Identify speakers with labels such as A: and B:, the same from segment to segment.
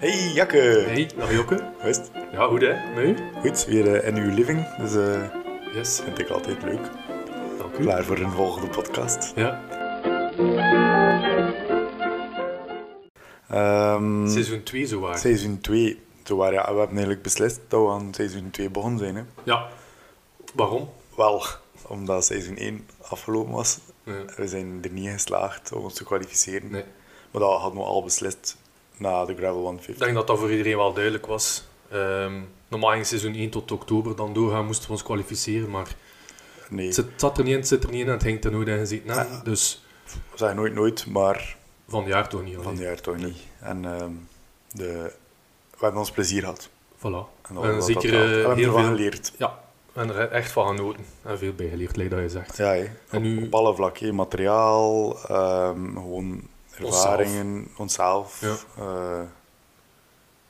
A: Hey Jakke!
B: Hey, dag Jokke.
A: Hoe is het?
B: Ja, goed hè? Met u?
A: Goed, weer eh, in uw living. Dus eh
B: Yes,
A: vind ik altijd leuk.
B: dank u.
A: Klaar voor een volgende podcast.
B: Ja,
A: Ehm,
B: seizoen 2 zowaar.
A: seizoen 2. Zo waar, ja, we hebben eigenlijk beslist dat we aan seizoen 2 begonnen zijn. Hè.
B: Ja. Waarom?
A: Wel, omdat seizoen 1 afgelopen was.
B: Ja.
A: We zijn er niet geslaagd om ons te kwalificeren.
B: Nee.
A: Maar dat hadden we al beslist na de Gravel 150.
B: Ik denk dat dat voor iedereen wel duidelijk was. Ehm, normaal ging seizoen 1 tot oktober dan doorgaan, moesten we ons kwalificeren, maar
A: Nee,
B: het zit- het zat er niet in, het zit er niet in en het ging ten nooit ingezien. hè.
A: Ja.
B: Dus
A: we zeggen nooit nooit, maar
B: van het jaar toch niet.
A: van
B: alleen.
A: het jaar toch niet. En ehm, de, we hebben ons plezier gehad.
B: Voilà.
A: En,
B: En,
A: dat was wat
B: zeker
A: dat telt. En
B: eh,
A: we hebben
B: heel
A: ervan
B: veel...
A: geleerd.
B: Ja, en er echt van genoten. En veel bijgeleerd, lijkt dat je zegt.
A: Ja, hè.
B: En nu-
A: op alle vlakken. hè. Materiaal, ehm, gewoon
B: Onszelf.
A: ervaringen, onszelf.
B: Ja.
A: eh,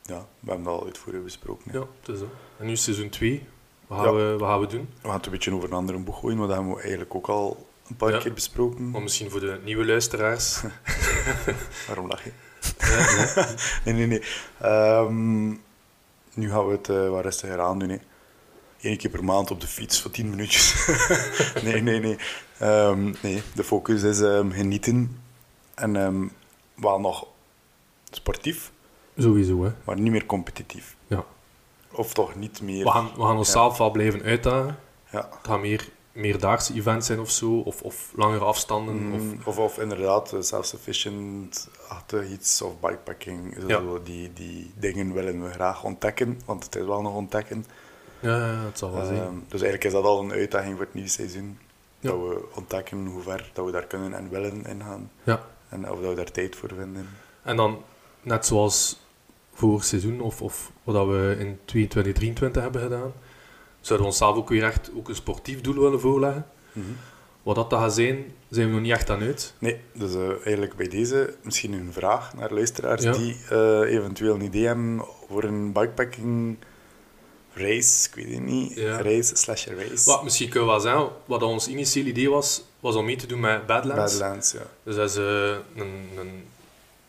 A: ja, we hebben dat al uitvoerig besproken. hè.
B: Ja, het is zo. En nu seizoen 2. Wat gaan,
A: Ja. Mhm.
B: we, wat gaan we doen?
A: We gaan het een beetje over een andere boeg gooien, want dat hebben we eigenlijk ook al een paar
B: Ja.
A: keer besproken.
B: Maar misschien voor de nieuwe luisteraars.
A: Waarom lach je?
B: Ja, ja.
A: Nee, nee, nee. Ehm, nu gaan we het eh, wat rustiger aandoen. Hè. Eén keer per maand op de fiets voor 10 minuutjes. nee, nee, nee. Ehm, nee. De focus is ehm, genieten. En ehm, wel nog sportief,
B: Sowieso, hè.
A: maar niet meer competitief.
B: Ja.
A: Of toch niet meer.
B: We gaan, we gaan onszelf wel blijven uitdagen.
A: Ja.
B: Het gaan meer meerdaagse events zijn of zo, of, of langere afstanden. Of,
A: Mm, Of, of inderdaad, eh, self-sufficient, achter iets of bikepacking. Zo,
B: Ja.
A: die, die dingen willen we graag ontdekken, want het is wel nog ontdekken.
B: ja, ja, ja, het zal wel zijn.
A: Ehm, dus eigenlijk is dat al een uitdaging voor het nieuwe seizoen.
B: Ja.
A: Dat we ontdekken hoe ver dat we daar kunnen en willen in gaan.
B: Ja.
A: En of dat we daar tijd voor vinden.
B: En dan, net zoals vorig seizoen, of, of wat dat we in 22, 23 hebben gedaan, zouden we onszelf ook weer echt ook een sportief doel willen voorleggen. Wat dat dan gaat zijn, zijn we nog niet echt aan uit.
A: Nee, dus eh, eigenlijk bij deze misschien een vraag naar luisteraars
B: Ja.
A: die eh, eventueel een idee hebben voor een bikepacking race, ik weet het niet,
B: Ja.
A: race slash race.
B: Wat misschien kunnen we wel zeggen, wat dat ons initiële idee was, was om mee te doen met Badlands.
A: Badlands, ja.
B: Dus dat is eh, een, een,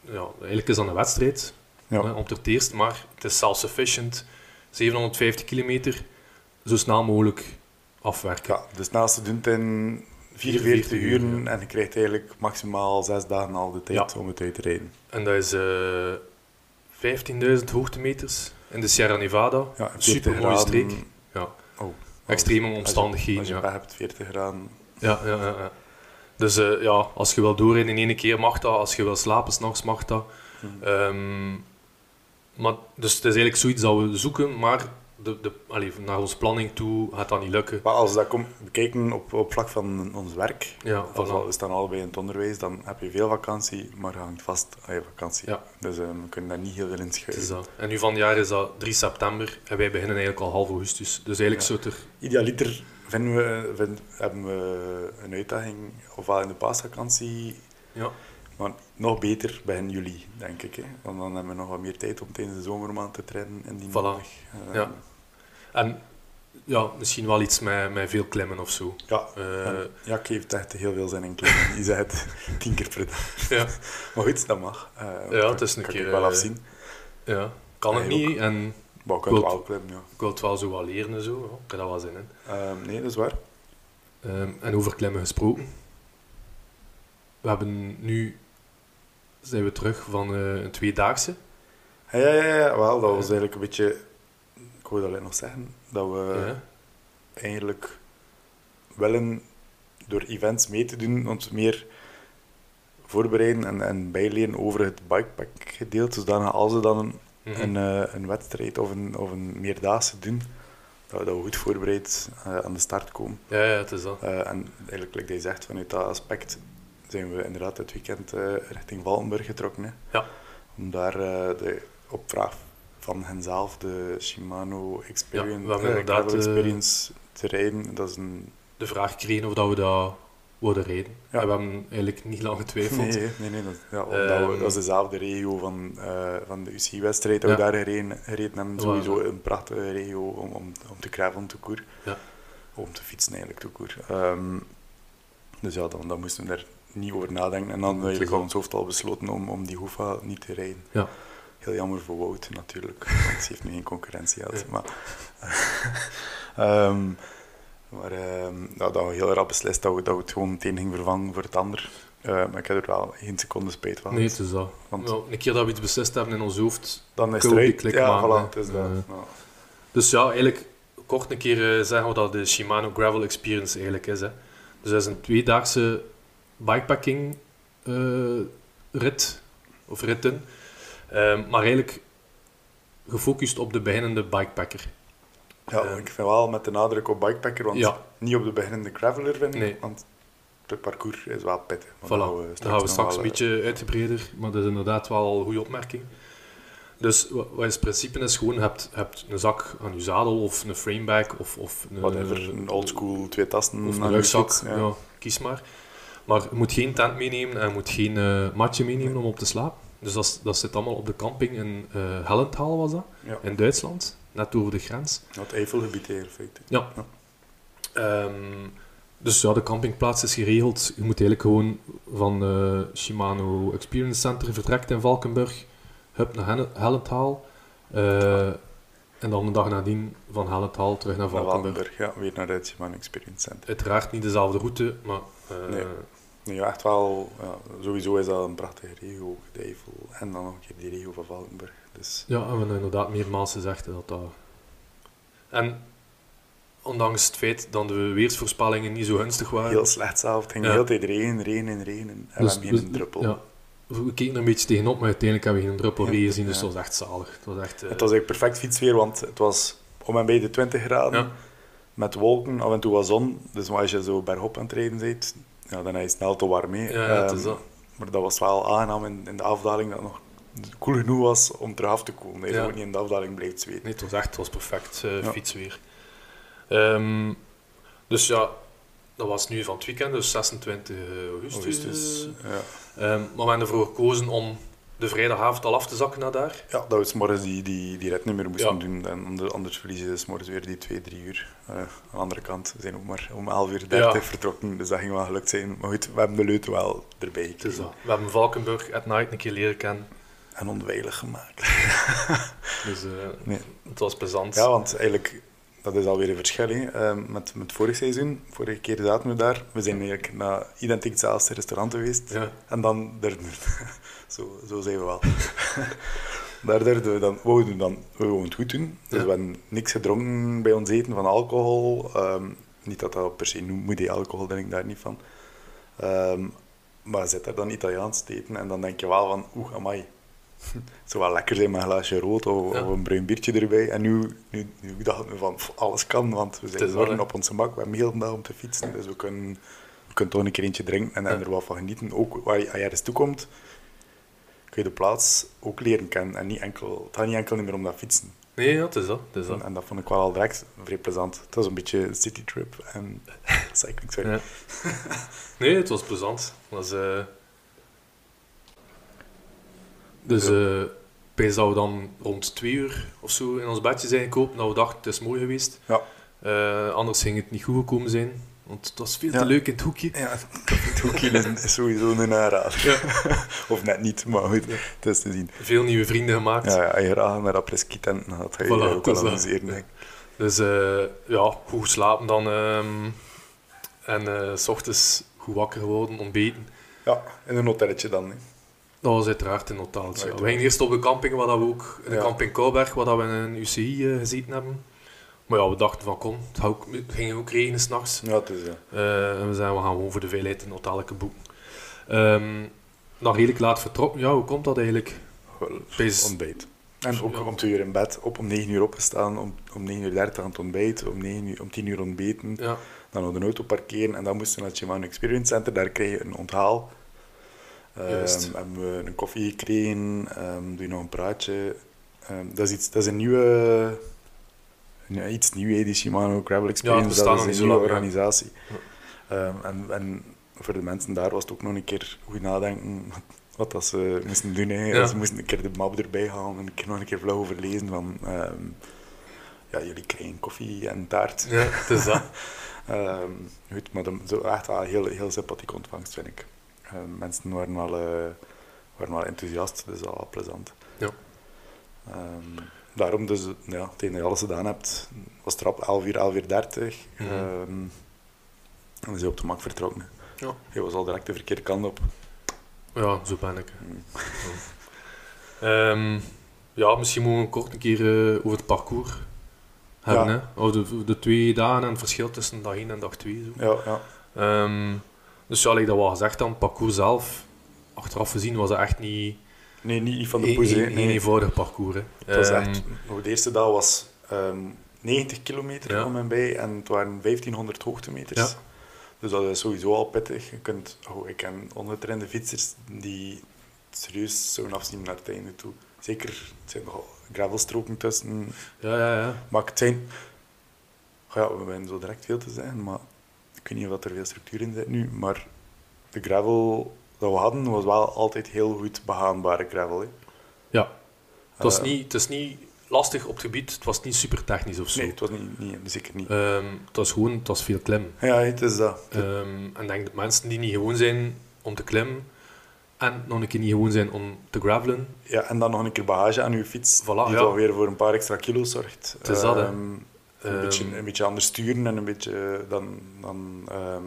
B: ja, eigenlijk is dat een wedstrijd.
A: Ja.
B: Hè, om het eerst, maar het is self-sufficient. 750 kilometer, zo snel mogelijk afwerken.
A: ja. Dus naast je doet het in 44
B: 44
A: uur
B: uur, ja.
A: en je krijgt eigenlijk maximaal 6 dagen al de tijd
B: Ja.
A: om het uit te rijden.
B: En dat is eh 15.000 hoogtemeters in de Sierra Nevada.
A: Ja, en 40
B: Super mooie
A: graden.
B: streek. Ja.
A: Oh.
B: Extreme
A: Als je-
B: omstandigheden.
A: Als je
B: ja.
A: pech hebt, 40 graden.
B: Ja, ja, ja. ja. Dus eh, ja, als je wil doorrijden in één keer mag dat. Als je wil slapen s'nachts mag dat.
A: Mhm.
B: Ehm, maar, dus het is eigenlijk zoiets dat we zoeken, maar de, de, allee, naar onze planning toe gaat dat niet lukken.
A: Maar als we dat komt bekijken op, op vlak van ons werk,
B: Ja,
A: als
B: voilà.
A: we we staan allebei in het onderwijs, dan heb je veel vakantie, maar je hangt vast aan je vakantie.
B: Ja.
A: Dus eh, we kunnen daar niet heel veel in
B: Het is
A: schuiven.
B: dat. En nu van het jaar is dat 3 september en wij beginnen eigenlijk al half augustus. Dus eigenlijk
A: Ja.
B: zou het er...
A: Idealiter vinden we, vind- hebben we een uitdaging, ofwel in de paasvakantie,
B: Ja,
A: maar nog beter begin juli, denk ik. Hè? Want dan hebben we nog wat meer tijd om tijdens de zomermaand te trainen en die
B: Voilà.
A: nodig. Eh,
B: Ja. en ja, misschien wel iets met, met veel klimmen of zo.
A: Ja,
B: Eh,
A: en Jack heeft echt heel veel zin in klimmen. Die zegt het tien keer per dag.
B: ja,
A: Maar goed, dat mag. Eh,
B: Ja, het is een
A: kan
B: keer,
A: Ik wel
B: eh,
A: afzien.
B: ja, kan het
A: Wij
B: niet
A: ook.
B: en
A: Maar we kunnen
B: Goed.
A: wel klimmen, ja.
B: ik wil het wel zo wel leren en zo. Ja, ik heb daar wel zin in.
A: Ehm, nee, dat is waar.
B: Ehm, en over klimmen gesproken. We hebben nu... Zijn we terug van eh, een tweedaagse.
A: Ja, ja, ja, ja, wel, dat was eigenlijk een beetje... Ik wou dat net nog zeggen. Dat we
B: Ja.
A: eigenlijk willen door events mee te doen ons meer voorbereiden en, en bijleren over het bikepack gedeelte. Zodat als we dan een,
B: Mhm.
A: een, eh, een wedstrijd of een, of een meerdaagse doen, dat we, dat we goed voorbereid eh, aan de start komen.
B: ja, ja, het is dat.
A: Eh, en eigenlijk, like hij zegt, vanuit dat aspect zijn we inderdaad dit weekend eh, richting Valkenburg getrokken. Hè.
B: Ja.
A: Om daar eh, de, op vraag van henzelf de Shimano Experience,
B: Ja, we
A: eh,
B: hebben inderdaad,
A: Gravel
B: eh,
A: Experience te rijden. Dat is een...
B: De vraag kregen of dat we dat worden rijden.
A: Ja.
B: En we hebben eigenlijk niet lang getwijfeld.
A: Nee, nee, nee. Dat, ja, omdat we,
B: Ehm.
A: dat is dezelfde regio van, eh, van de UC-wedstrijd dat we
B: Ja.
A: daar gereden, gereden hebben.
B: Ja.
A: Sowieso een prachtige regio om, om, om te gravelen, te koer.
B: Ja.
A: Om te fietsen eigenlijk, te koer. Ehm, dus ja, dan, dan moesten we daar niet over nadenken. En dan
B: is
A: eigenlijk
B: wel-
A: al ons hoofd al besloten om, om die Hoefa niet te rijden.
B: Ja.
A: Heel jammer voor Wout natuurlijk, want ze heeft nu geen concurrentie gehad. Maar, ehm, maar ehm, nou, dat we heel rap beslist dat we, dat we het gewoon het een ging vervangen voor het ander. Eh, maar ik heb er wel geen seconde spijt van.
B: Nee, het is dat.
A: Want-
B: Nou, een keer dat we iets beslist hebben in ons hoofd.
A: Dan is
B: Go
A: het
B: die
A: eruit.
B: klik
A: ja,
B: maken,
A: voilà, het is
B: hè.
A: dat.
B: Eh.
A: Nou,
B: Dus ja, eigenlijk kort een keer eh, zeggen wat dat de Shimano Gravel Experience eigenlijk is. Hè. Dus dat is een tweedaagse bikepacking eh, rit of ritten. Ehm, maar eigenlijk gefocust op de beginnende bikepacker.
A: ja,
B: Ehm.
A: ik vind wel met de nadruk op bikepacker, want
B: Ja.
A: niet op de beginnende graveler vind ik,
B: Nee.
A: want het parcours is wel pittig.
B: Voilà,
A: maar
B: daar gaan we straks,
A: nog
B: een
A: wel, eh,
B: beetje uitgebreider, maar dat is inderdaad wel een goede opmerking. Dus wa- wat is het principe is gewoon, je hebt, je hebt een zak aan je zadel of een framebag of, of een,
A: eh, Whatever, een oldschool twee tasten
B: eh, of
A: aan
B: een
A: je
B: rugzak,
A: fiets,
B: Mm, ja. kies maar. Maar je moet geen tent meenemen en je moet geen eh, matje meenemen om op te slapen. Dus dat, is- dat zit allemaal op de camping in eh Hellenthal was dat,
A: Ja.
B: in Duitsland, net over de grens.
A: Het Eifelgebied hier, in feite.
B: Ehm, dus ja, de campingplaats is geregeld. Je moet eigenlijk gewoon van eh Shimano Experience Center vertrekt in Valkenburg, hup naar Henne- Hellenthal. eh, en dan de dag nadien van Hellenthal terug naar
A: Naar
B: Valkenburg.
A: Wallenburg, ja, weer naar het Simon Experience Center.
B: Uiteraard niet dezelfde route, maar eh,
A: Nee. Nee, echt wel, ja, sowieso is dat een prachtige regio, ook, de Eifel. En dan nog een keer die regio van Valkenburg. Dus
B: ja, en we hebben inderdaad meermaals gezegd dat dat. En ondanks het feit dat de weersvoorspellingen niet zo gunstig waren,
A: heel slecht zelf. Het ging
B: Ja. Dus
A: de hele tijd regen, regen, regen. En we hebben geen druppel.
B: Ja, we keken er een beetje tegenop, maar uiteindelijk hebben we geen druppel
A: Ja,
B: regen gezien, dus
A: ja.
B: dat was echt zalig. Het was echt... eh,
A: Het was eigenlijk perfect fietsweer, want het was om en bij de 20 graden.
B: ja.
A: Met wolken, af en toe wat zon. Dus maar als je zo bergop aan het rijden bent, ja, dan is het snel te warm mee.
B: Ja, ja, het is
A: Ehm,
B: dat.
A: Maar dat was wel aangenaam in, in de afdaling dat het nog koel genoeg was om terug af te koelen. Dat je
B: Ja.
A: gewoon niet in de afdaling blijft zweten.
B: Nee, het was echt het was perfect eh,
A: Ja.
B: fietsweer. Ehm, dus ja, dat was nu van het weekend, dus 26 augustus.
A: Augustus. Dus Ja.
B: Ehm, maar we hebben ervoor gekozen om de vrijdagavond al af te zakken naar daar.
A: ja, dat we s'morgens die, die, die rit niet meer moesten
B: Ja.
A: doen. En ander- anders verliezen ze s'morgens weer die twee, drie uur. Eh, aan de andere kant zijn we ook maar om 11 uur 30
B: Ja.
A: vertrokken. Dus dat ging wel gelukt zijn. Maar goed, we hebben de leut wel erbij
B: Het is
A: gekregen.
B: dat. We hebben Valkenburg at night een keer leren kennen,
A: En onveilig gemaakt.
B: dus eh,
A: Nee.
B: het was plezant.
A: Ja, want eigenlijk, dat is alweer een verschil hè. Eh, met, met vorig seizoen. Vorige keer zaten we daar. We zijn eigenlijk naar identiek hetzelfde restaurant geweest.
B: Ja.
A: En dan derden we. Zo, zo zijn we wel. Daar derden we dan. We wouden dan we wouden het goed doen. Dus
B: Ja.
A: we hebben niks gedronken bij ons eten van alcohol. Ehm, niet dat dat per se moet, die alcohol denk ik daar niet van. Ehm, maar zit daar dan Italiaans te eten en dan denk je wel van, oeh, amai. Het zou wel lekker zijn met een glaasje rood of,
B: Ja.
A: of een bruin biertje erbij. En nu, nu, nu dachten we van, pff, alles kan, want we
B: is
A: zijn
B: wel,
A: morgen
B: hè.
A: op onze mak. We hebben heel de dag om te fietsen, dus we kunnen, we kunnen toch een keer eentje drinken en, en
B: Ja.
A: er wat van genieten. Ook waar je, als je ergens toekomt, kun je de plaats ook leren kennen. En niet enkel, het gaat niet enkel niet meer om dat fietsen.
B: Nee, ja, het is dat. Het is dat.
A: En, en dat vond ik wel al direct vrij plezant. Het was een beetje een citytrip en cycling, sorry.
B: Ja. Nee, het was plezant. Het Was, eh, Dus eh pees dat we dan rond twee uur of zo in ons bedje zijn gekomen. Dat we dachten, het is mooi geweest.
A: Ja.
B: Eh, anders ging het niet goed gekomen zijn. Want het was veel te
A: Ja.
B: leuk in het hoekje.
A: Ja, het hoekje is- is sowieso een aanrader.
B: Ja.
A: Of net niet, maar goed, het is te zien.
B: Veel nieuwe vrienden gemaakt.
A: Ja, ja, als je graag naar apres-ski tenten gaat, ga je
B: Voilà,
A: je ook
B: het is
A: wel
B: dat.
A: amuseren, denk ik.
B: Dus eh, ja, goed slapen dan. ehm, en eh, s ochtends goed wakker worden, ontbeten.
A: Ja, in een hotelletje dan. hè.
B: Dat was uiteraard in het hotel. Ja.
A: Uiteraard.
B: We gingen eerst op de camping, waar dat we ook, in de
A: Ja.
B: camping Kouberg, waar dat we een UCI eh, gezeten hebben. Maar ja, we dachten van kom, het, gaat ook, het ging ook regenen s'nachts.
A: Ja, het is ja.
B: Eh, en we zijn we gaan gewoon voor de veiligheid een hotelletje boeken. Ehm dan redelijk laat vertrokken. Ja, hoe komt dat eigenlijk?
A: Wel,
B: Pees-
A: ontbijt. En ook
B: Ja.
A: om 2 uur in bed, op om 9 uur opgestaan, om, om 9 uur 30 aan het ontbijt, om, 9 uur, om 10 uur ontbeten,
B: Ja,
A: dan nog de auto parkeren en dan moesten we naar het Shimano Experience Center, daar kreeg je een onthaal. Ehm,
B: Juist.
A: hebben we een koffie gekregen, ehm, doe je nog een praatje. Ehm, dat, is iets, dat is een nieuwe, ja, iets nieuw, hè, die Shimano Gravel
B: Ja, het
A: Experience,
B: bestaat
A: dat
B: nog niet
A: is
B: zo
A: een nieuwe
B: lang, ja.
A: organisatie. Ehm, en, en voor de mensen daar was het ook nog een keer goed nadenken wat, wat dat ze moesten doen. hè.
B: Ja.
A: Ze moesten een keer de map erbij halen en een keer nog een keer vlog overlezen van... ehm, ja, jullie krijgen koffie en taart.
B: ja het is dat.
A: Ehm, goed, maar de, zo echt wel een heel, heel sympathieke ontvangst, vind ik. Ehm, mensen waren wel, eh, waren wel enthousiast, dus dat was wel plezant.
B: Ja.
A: Ehm, daarom dus, ja, het enige dat je gedaan hebt, was trap 11 uur, 11 uur 30.
B: Mhm.
A: Ehm, en is hij op de mak vertrokken.
B: Ja.
A: Hij was al direct de verkeerde kant op.
B: Ja, zo ben ik. hè.
A: Mm.
B: Ja. Ehm, ja, misschien moeten we kort een keer eh, over het parcours hebben. Hè? Of de, de twee dagen en het verschil tussen dag 1 en dag 2. Zo.
A: Ja, ja.
B: Ehm, dus ja, like dat wel gezegd dan, het parcours zelf, achteraf gezien, was dat echt niet
A: Nee, niet, niet van de
B: een-
A: poes. hè.
B: een- een
A: Nee,
B: eenvoudig parcours. Hè.
A: Het was
B: Ehm,
A: echt, de eerste dag was ehm, 90 kilometer
B: Ja.
A: om en bij en het waren 1500 hoogtemeters.
B: Ja.
A: Dus dat is sowieso al pittig. Je kunt, oh, ik ken ongetrainde fietsers die het serieus zo'n afzien naar het einde toe. Zeker, het zijn nogal gravelstroken tussen.
B: ja, ja, ja.
A: Maar het zijn, oh ja, we zijn zo direct veel te zijn, maar ik weet niet of dat er veel structuur in zit nu. Maar de gravel dat we hadden was wel altijd heel goed begaanbare gravel. Hè.
B: ja. Het, was
A: Eh,
B: niet, het is niet lastig op het gebied, het was niet super technisch of zo.
A: Nee, het was niet, niet zeker niet.
B: Ehm, het was gewoon, het was veel klim.
A: Ja, het is dat.
B: Ehm, en ik denk dat mensen die niet gewoon zijn om te klimmen en nog een keer niet gewoon zijn om te gravelen,
A: Ja, en dan nog een keer bagage aan uw fiets,
B: Voilà,
A: die
B: ja.
A: dan weer voor een paar extra kilo's zorgt.
B: Het is dat, hè.
A: Ehm, een,
B: Ehm.
A: beetje, een beetje anders sturen en een beetje, eh, dan, dan, ehm,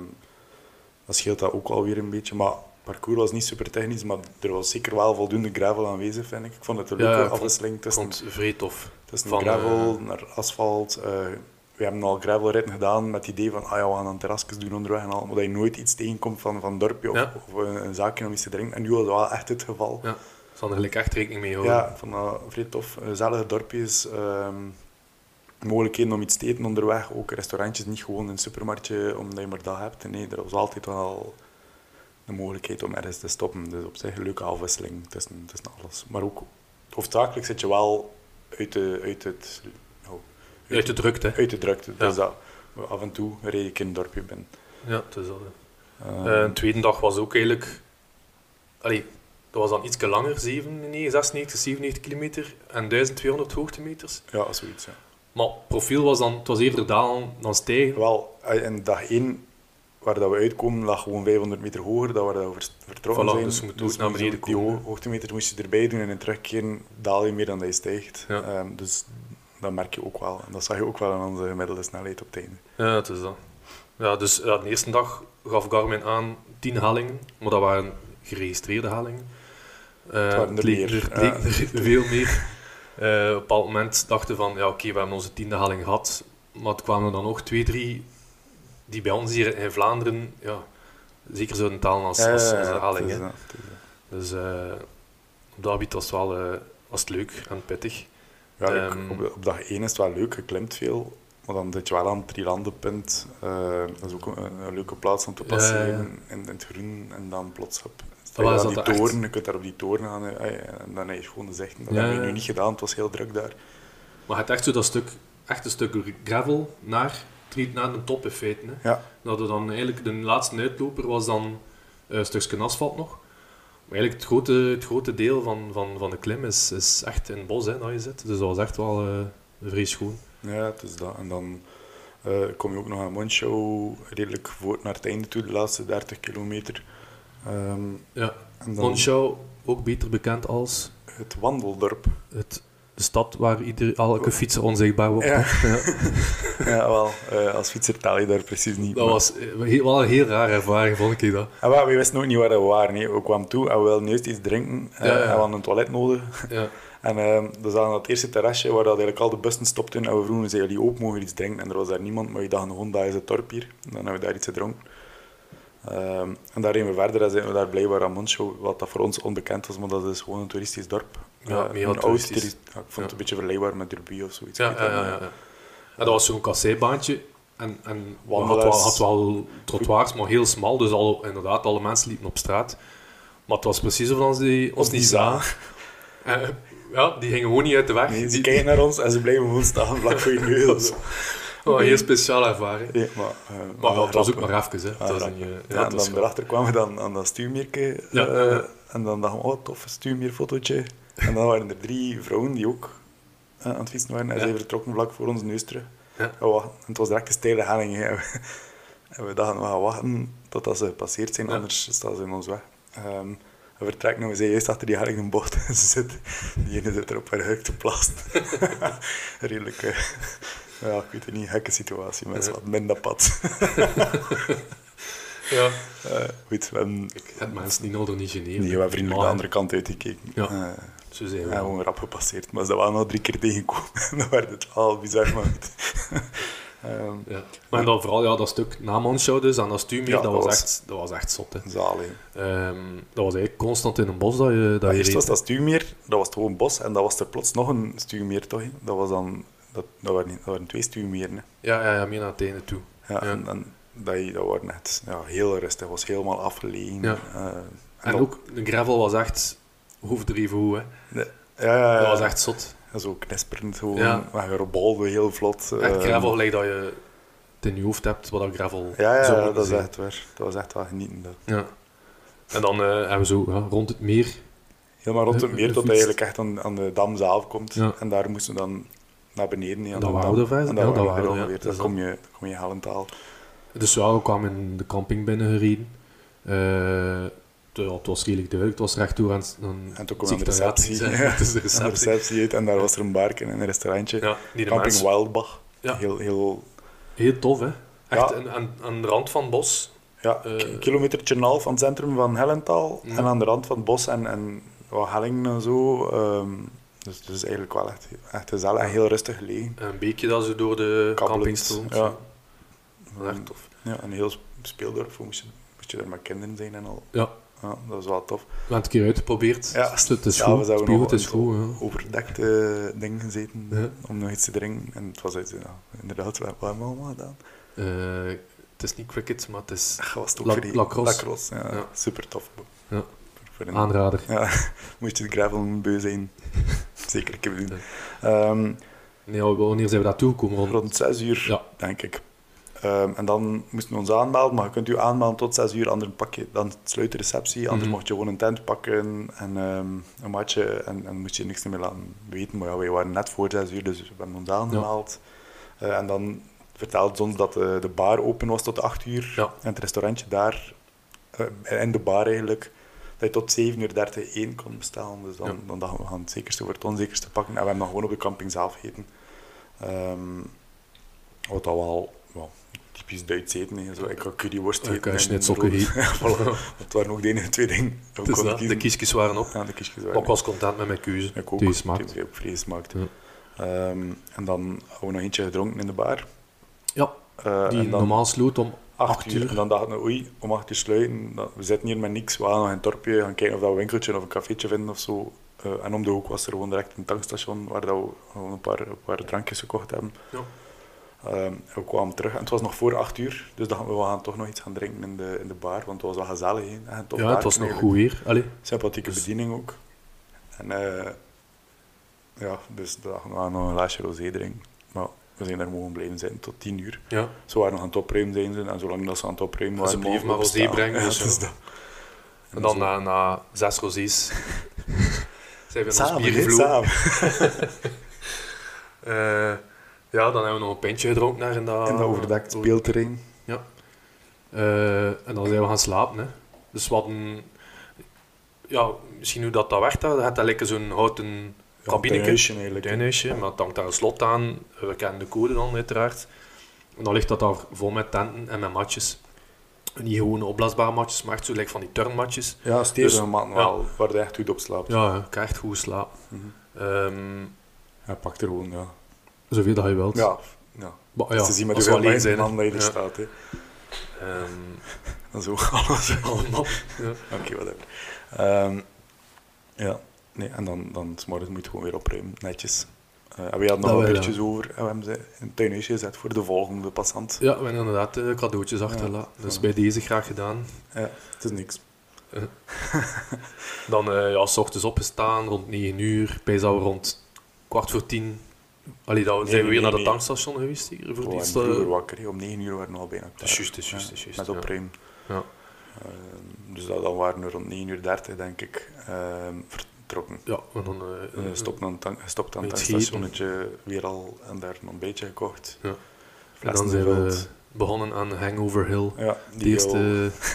A: dan scheelt dat ook alweer een beetje. Maar het parcours was niet super technisch, maar er was zeker wel voldoende gravel aanwezig, vind ik. Ik vond het een
B: Ja,
A: leuke
B: ik vond-
A: afwisseling
B: ik
A: tussen,
B: vond het vrij tof.
A: tussen
B: van,
A: gravel
B: eh,
A: naar asfalt. Eh, we hebben al gravelritten gedaan met het idee van, ah ja, we gaan dan terrasjes doen onderweg en al, maar dat je nooit iets tegenkomt van, van een dorpje of,
B: Ja.
A: of een, een zaakje om iets te drinken. En nu was dat wel echt het geval.
B: Ja, ze hadden eh, gelijk echt rekening mee houden.
A: Ja, ik vond dat vrij tof. Eh, Gezellige dorpjes. ehm, mogelijkheden om iets te eten onderweg. Ook restaurantjes, niet gewoon een supermarktje omdat je maar dat hebt. Nee, er was altijd wel de mogelijkheid om ergens te stoppen. Dus op zich een leuke afwisseling tussen, tussen alles. Maar ook hoofdzakelijk zit je wel uit, de, uit, het, oh,
B: Uit de drukte. hè.
A: uit de drukte. Dus
B: Ja.
A: dat, af en toe reed ik in een dorpje binnen.
B: Ja, het is dat. hè.
A: Ehm,
B: Eh, de tweede dag was ook eigenlijk... Allee, dat was dan iets langer, 97, 96, 97 kilometer en 1200 hoogtemeters.
A: ja, zoiets. Ja.
B: Maar het profiel was dan, het was eerder dalen dan stijgen.
A: Wel, in dag 1, waar dat we uitkomen, lag gewoon 500 meter hoger. Dat waar dat we vers- vertrokken
B: Voilà,
A: zijn.
B: dus je moet ook naar
A: sowieso
B: beneden
A: Die
B: komen.
A: ho- hoogtemeter moest je erbij doen en in terugkeren daal je meer dan dat je stijgt.
B: Ja.
A: Ehm, dus dat merk je ook wel. En dat zag je ook wel aan onze gemiddelde snelheid op het einde.
B: Ja, het is dat. Ja, dus ja, de eerste dag gaf Garmin aan 10 hellingen, maar dat waren geregistreerde hellingen. Eh,
A: waren er
B: het leek
A: meer,
B: er, het
A: ja.
B: leek er veel meer. Eh, op een bepaald moment dachten we van, ja oké, we hebben onze tiende helling gehad, maar het kwamen er dan nog twee, drie die bij ons hier in Vlaanderen ja, zeker zouden talen als, als onze helling.
A: het is
B: hè.
A: dat, het is dat.
B: Dus eh, op dat gebied was het wel eh, was het leuk en pittig.
A: Ja, ik-
B: Ehm.
A: op, op dag 1 is het wel leuk, je klimt veel. Maar dan zit je wel aan het drielandenpunt. Eh dat is ook een, een leuke plaats om te
B: Ja,
A: passeren.
B: ja, ja.
A: In, in het groen en dan plots op.
B: Ja, maar
A: Ja,
B: is
A: aan die
B: dat echt-
A: toren, je kunt daar op die toren gaan eh, eh, en dan heb je gewoon de zichten. Dat
B: Ja,
A: hebben we
B: ja.
A: nu niet gedaan, het was heel druk daar.
B: Maar het echt zo dat stuk, echt een stuk gravel naar, naar de top in feite. Hè.
A: Ja.
B: Dat er dan eigenlijk de laatste uitloper was dan eh, een stukje asfalt nog. Maar eigenlijk het grote, het grote deel van, van, van de klim is, is echt in het bos hè, dat je zit. Dus dat was echt wel eh vrij schoon.
A: Ja, het is dat. En dan eh, kom je ook nog aan Monschau, redelijk voor naar het einde toe, de laatste 30 kilometer. Ehm,
B: Ja.
A: en dan
B: Monschau, ook beter bekend als
A: het wandeldorp.
B: het, de stad waar ieder, elke fietser onzichtbaar wordt.
A: Ja.
B: hè. Ja.
A: ja, wel, eh, als fietser taal je daar precies niet.
B: Dat
A: maar-
B: was eh, heel- wel een heel rare ervaring, vond ik
A: En
B: dat.
A: Ah, wel, we wisten ook niet waar we waren. hè. We kwamen toe en we wilden eerst iets drinken. eh,
B: Ja, ja.
A: En we hadden een toilet nodig.
B: Ja.
A: En ehm we zaten aan het eerste terrasje waar dat eigenlijk al de bussen stopten. En we vroegen, zeiden jullie ook, mogen we iets drinken? En er was daar niemand, maar we dachten gewoon, dat is het dorp hier. En dan hebben we daar iets gedronken. Ehm, en daar reden we verder en zijn we daar blijkbaar aan Moncho, wat dat voor ons onbekend was, maar dat is gewoon een toeristisch dorp.
B: Ja,
A: Eh,
B: mega
A: een oud
B: toeristisch.
A: toerist- ja, ik vond het
B: Ja.
A: een beetje vergelijkbaar met Derby of zoiets.
B: Ja,
A: Ik weet
B: ja,
A: dat
B: ja,
A: niet.
B: ja. ja. En dat was zo'n kasseibaantje. En, en we had
A: Wandelaars.
B: wel, had wel trottoirs, maar heel smal. Dus al, inderdaad, alle mensen liepen op straat. Maar het was precies of als die ons
A: Of die
B: niet zagen. Eh, ja, die gingen gewoon niet uit de weg.
A: Nee, ze
B: Die-
A: kijken naar ons en ze blijven gewoon staan vlak voor je neus.
B: Oh, een heel speciaal ervaring.
A: Nee, maar, eh,
B: Maar ja, het was ook
A: grappig.
B: maar even. Hè.
A: Ah,
B: Het was
A: rap.
B: niet, eh,
A: Ja,
B: ja, het
A: en
B: was
A: dan
B: grappig.
A: erachter kwamen we dan aan dat stuurmerken.
B: Ja, ja, ja.
A: En dan dachten we, oh tof, stuurmeerfotootje. En dan waren er drie vrouwen die ook eh, aan het fietsen waren. En
B: Ja.
A: zij vertrokken vlak voor ons neus terug.
B: Ja.
A: We wachten. En het was direct een steile helling. hè. En we- En we dachten, we gaan wachten totdat ze gepasseerd zijn,
B: Ja.
A: anders staan ze in ons weg. Ehm, Hij vertrekt nog eens hij juist achter die helling een bocht en ze zit. Die ene zit erop haar huik te plassen. Redelijk, eh, ja, ik weet het niet, gekke situatie, maar het is wat minder pad.
B: Ja.
A: Eh, goed, we hebben,
B: Ik heb mensen niet nodig niet generen.
A: nee, we hebben vriendelijk de
B: Maar
A: andere kant uitgekeken.
B: Ah. Ja.
A: Eh,
B: Zo zijn we.
A: Ja, gewoon rap gepasseerd. Maar ze waren nog drie keer tegengekomen. En dan werd het al bizar. Maar goed. Ehm,
B: Ja. Maar dan vooral ja, dat stuk na Manshow dus, aan dat stuur meer,
A: Ja,
B: dat,
A: dat
B: was
A: was-
B: echt, dat was echt zot. Hè.
A: zalig.
B: Ehm, dat was eigenlijk constant in een bos dat je, dat
A: Maar
B: je
A: eerst
B: reed.
A: was dat stuwmeer, dat was het gewoon bos. En dat was er plots nog een stuwmeer, toch? hè? Dat, was dan, dat, dat, waren, niet- dat waren twee stuwmeren. hè.
B: Ja, ja, ja, meer naar het einde toe.
A: Ja,
B: Ja.
A: En, en dat, je- dat waren echt ja, heel rustig. Het was helemaal afgelegen.
B: Ja.
A: Eh,
B: En
A: dat-
B: ook, de gravel was echt hoefdreven hoe, hè.
A: Ja, ja, ja.
B: Dat was echt zot.
A: Zo knisperend gewoon.
B: Ja.
A: Maar je robolde heel vlot.
B: Echt
A: eh,
B: gravel gelijk dat je het in je hoofd hebt, wat dat gravel
A: Ja, ja,
B: zou
A: ja
B: moeten
A: dat is
B: zijn.
A: echt waar. Dat was echt wel genieten. Dat.
B: Ja. En dan eh, hebben we zo ja, rond het meer.
A: Helemaal rond het
B: Eh,
A: meer tot hij
B: gefietst.
A: eigenlijk echt aan, aan de dam zelf komt.
B: Ja.
A: En daar moesten we dan naar beneden. Ja,
B: Dat wouden we,
A: En dat
B: ja, dat
A: wouden we
B: wouden, ja.
A: ongeveer.
B: Dus
A: Dan kom je, dan kom je Hellentaal.
B: Dus ja, we kwamen in de camping binnengereden. Eh het- ja, het was redelijk duidelijk, het was rechttoe aan, het- aan
A: En toen
B: het
A: kom je aan de
B: secretariaat.
A: receptie.
B: Ja, het is de
A: Aan de
B: receptie.
A: receptie uit. En daar was er een barken en een restaurantje.
B: Ja, die de
A: Camping
B: mensen-
A: Wildbach.
B: Ja.
A: Heel, heel,
B: Heel tof, hè? Echt
A: Ja.
B: aan- aan, aan de rand van het bos.
A: ja,
B: Eh.
A: een kilometertje en een half van het centrum van Hellentaal.
B: Ja.
A: En aan de rand van het bos en, en wat hellingen en zo. ehm, dus het is eigenlijk wel echt, echt gezellig en heel rustig gelegen.
B: Een beekje dat ze door de
A: Kabbelend,
B: camping stroomt.
A: ja.
B: Dat is echt tof.
A: Ja, en een heel speeldorp. voor Moest je, moest je er met kinderen zijn en al.
B: Ja,
A: Ja, dat was wel tof.
B: we hebben het een keer uitgeprobeerd.
A: Ja.
B: Het is- Het is
A: Ja,
B: goed,
A: we
B: het
A: zouden
B: is goed,
A: nog
B: het is
A: een-
B: goed. ja.
A: overdekte ding gezeten
B: Ja.
A: om nog iets te drinken. En het was uit, ja, inderdaad, wat hebben we allemaal gedaan?
B: Eh, het is niet cricket, maar het is
A: Ach, was het ook
B: La-
A: voor die
B: lacrosse.
A: lacrosse, ja,
B: Ja.
A: Super tof.
B: Ja.
A: Voor een-
B: aanrader.
A: ja, moest je de gravel beu zijn. Zeker, ik heb het doen. Ehm,
B: Nee, ja, wanneer zijn we daar toegekomen? Rond...
A: rond 6 uur,
B: Ja.
A: denk ik. Ehm, en dan moesten we ons aanmelden, maar je kunt je aanmelden tot 6 uur, anders pak je dan sluit de receptie, anders
B: Mhm.
A: mocht je gewoon een tent pakken en ehm, een matje en, en moest je niks meer laten weten. Maar ja, wij waren net voor 6 uur, dus we hebben ons aangemeld. Eh, en dan vertelden ze ons dat eh, de, de bar open was tot 8 uur
B: Ja.
A: en het restaurantje daar, eh, in de bar eigenlijk, dat je tot 7 uur 30 één kon bestellen. Dus dan,
B: Ja.
A: dan dachten we, we gaan het zekerste voor het onzekerste pakken. En we hebben dan gewoon op de camping zelf gegeten. Ehm, wat dat wel wel typisch Duits eten is. Ik had curryworst
B: Ik
A: eten.
B: had
A: en
B: schnitzelken
A: brood.
B: eten.
A: Ja, voilà. Dat waren ook de enige twee dingen. die we
B: Het is
A: konden
B: dat, de
A: kiezen.
B: kiesjes waren op.
A: Ja, de kiesjes
B: Maar
A: waren
B: ik was content met mijn keuze.
A: ik ook.
B: Die smaakt.
A: Die ook vlees smaakt.
B: Ja.
A: Ehm, en dan hadden we nog eentje gedronken in de bar.
B: Ja,
A: Eh,
B: die
A: en dan
B: normaal sloot om
A: 8
B: 8
A: uur. En
B: uur.
A: dan dachten we, oei, om 8 uur sluiten. dat- we zitten hier met niks. We gaan nog in het dorpje gaan kijken of dat we een winkeltje of een cafeetje vinden of zo. Eh, en om de hoek was er gewoon direct een tankstation waar dat we gewoon een paar, een paar drankjes gekocht hebben.
B: Ja.
A: Ehm, we kwamen terug en het was nog voor 8 uur. Dus dachten we, we gaan toch nog iets gaan drinken in de, in de bar. Want het was wel gezellig. hè. En tof
B: Ja, het
A: werk
B: was nog
A: eigenlijk.
B: goed weer. Allee,
A: Sympathieke
B: Dus-
A: bediening ook. En eh, ja, dus we dachten, we gaan nog een glaasje rosé drinken. Maar we zijn daar mogen blijven zitten tot 10 uur.
B: ja.
A: Ze waren nog aan het opruimen, zijn ze. En zolang dat ze aan het opruimen
B: Ze
A: waren...
B: bleven
A: mogen we
B: maar rosé
A: bestaan.
B: brengen,
A: Ja,
B: dus
A: dat Dus is
B: ja.
A: dat.
B: En dan na, na zes rosés zijn we in ons
A: Samen,
B: bier
A: hè,
B: gevlogen.
A: samen.
B: Eh, ja, dan hebben we nog een pintje gedronken daar in dat...
A: In dat overdekt speelterrein.
B: Eh, en dan zijn we gaan slapen. Hè. Dus wat een... Ja, misschien hoe dat, dat werkt. hè. Je hebt daar lekker zo'n houten
A: Ja, een
B: kabinetje,
A: huisje eigenlijk.
B: duinhuisje, maar het hangt daar een slot aan. We kennen de code dan uiteraard. En dan ligt dat daar vol met tenten en met matjes. Niet gewoon opblaasbare matjes, maar echt zo like van die turnmatjes.
A: Ja, stevige
B: Dus-
A: man wel, waar hij echt goed op slaapt.
B: Ja, ja, ik kan echt goed slapen.
A: Mhm.
B: Ehm,
A: Hij pakt er gewoon, ja.
B: zoveel dat je wilt.
A: Ja, ja.
B: Maar Ah, ja,
A: ja. Ze zien met
B: als we
A: hoeveel
B: alleen
A: man-
B: zijn, hè.
A: man dat je er
B: Ja.
A: staat. Hè.
B: Ehm,
A: Dat is ook alles.
B: allemaal. Ja.
A: Oké, whatever. Ehm, ja, nee, en dan, dan s morgens moet je het gewoon weer opruimen, netjes. Eh, en we hadden
B: Dat
A: nog
B: wel,
A: een
B: ja.
A: biertjes over en we hebben ze in het tuinhuisje gezet voor de volgende passant.
B: Ja, we hebben inderdaad eh, cadeautjes achterlaten. Dus bij deze graag gedaan.
A: Het is niks.
B: Dan eh ja, s ochtends opgestaan rond 9 uur. Bij zouden we rond kwart voor 10. Allee, dan
A: Nee,
B: zijn
A: nee,
B: we weer
A: nee,
B: naar het
A: nee. Oh,
B: tankstation geweest hier. Voor
A: We
B: die eh,
A: waren vroeger wakker, hè. om 9 uur waren we al bijna klaar.
B: is juist, dat is juist,
A: Ja,
B: dat is juist,
A: Met
B: ja.
A: opruimen.
B: Ja.
A: Ehm, dus dat, dan waren we rond 9 uur 30, denk ik, ehm, vertrokken.
B: Ja, en dan... eh,
A: Eh, Stopt aan het tank- gestopt aan het
B: Iets
A: tankstationnetje, weer al en daar een ontbijtje gekocht.
B: Ja. en
A: Flessen
B: dan zijn we
A: gevuld.
B: begonnen aan Hangover Hill.
A: Ja,
B: De
A: die,
B: eerste...
A: al-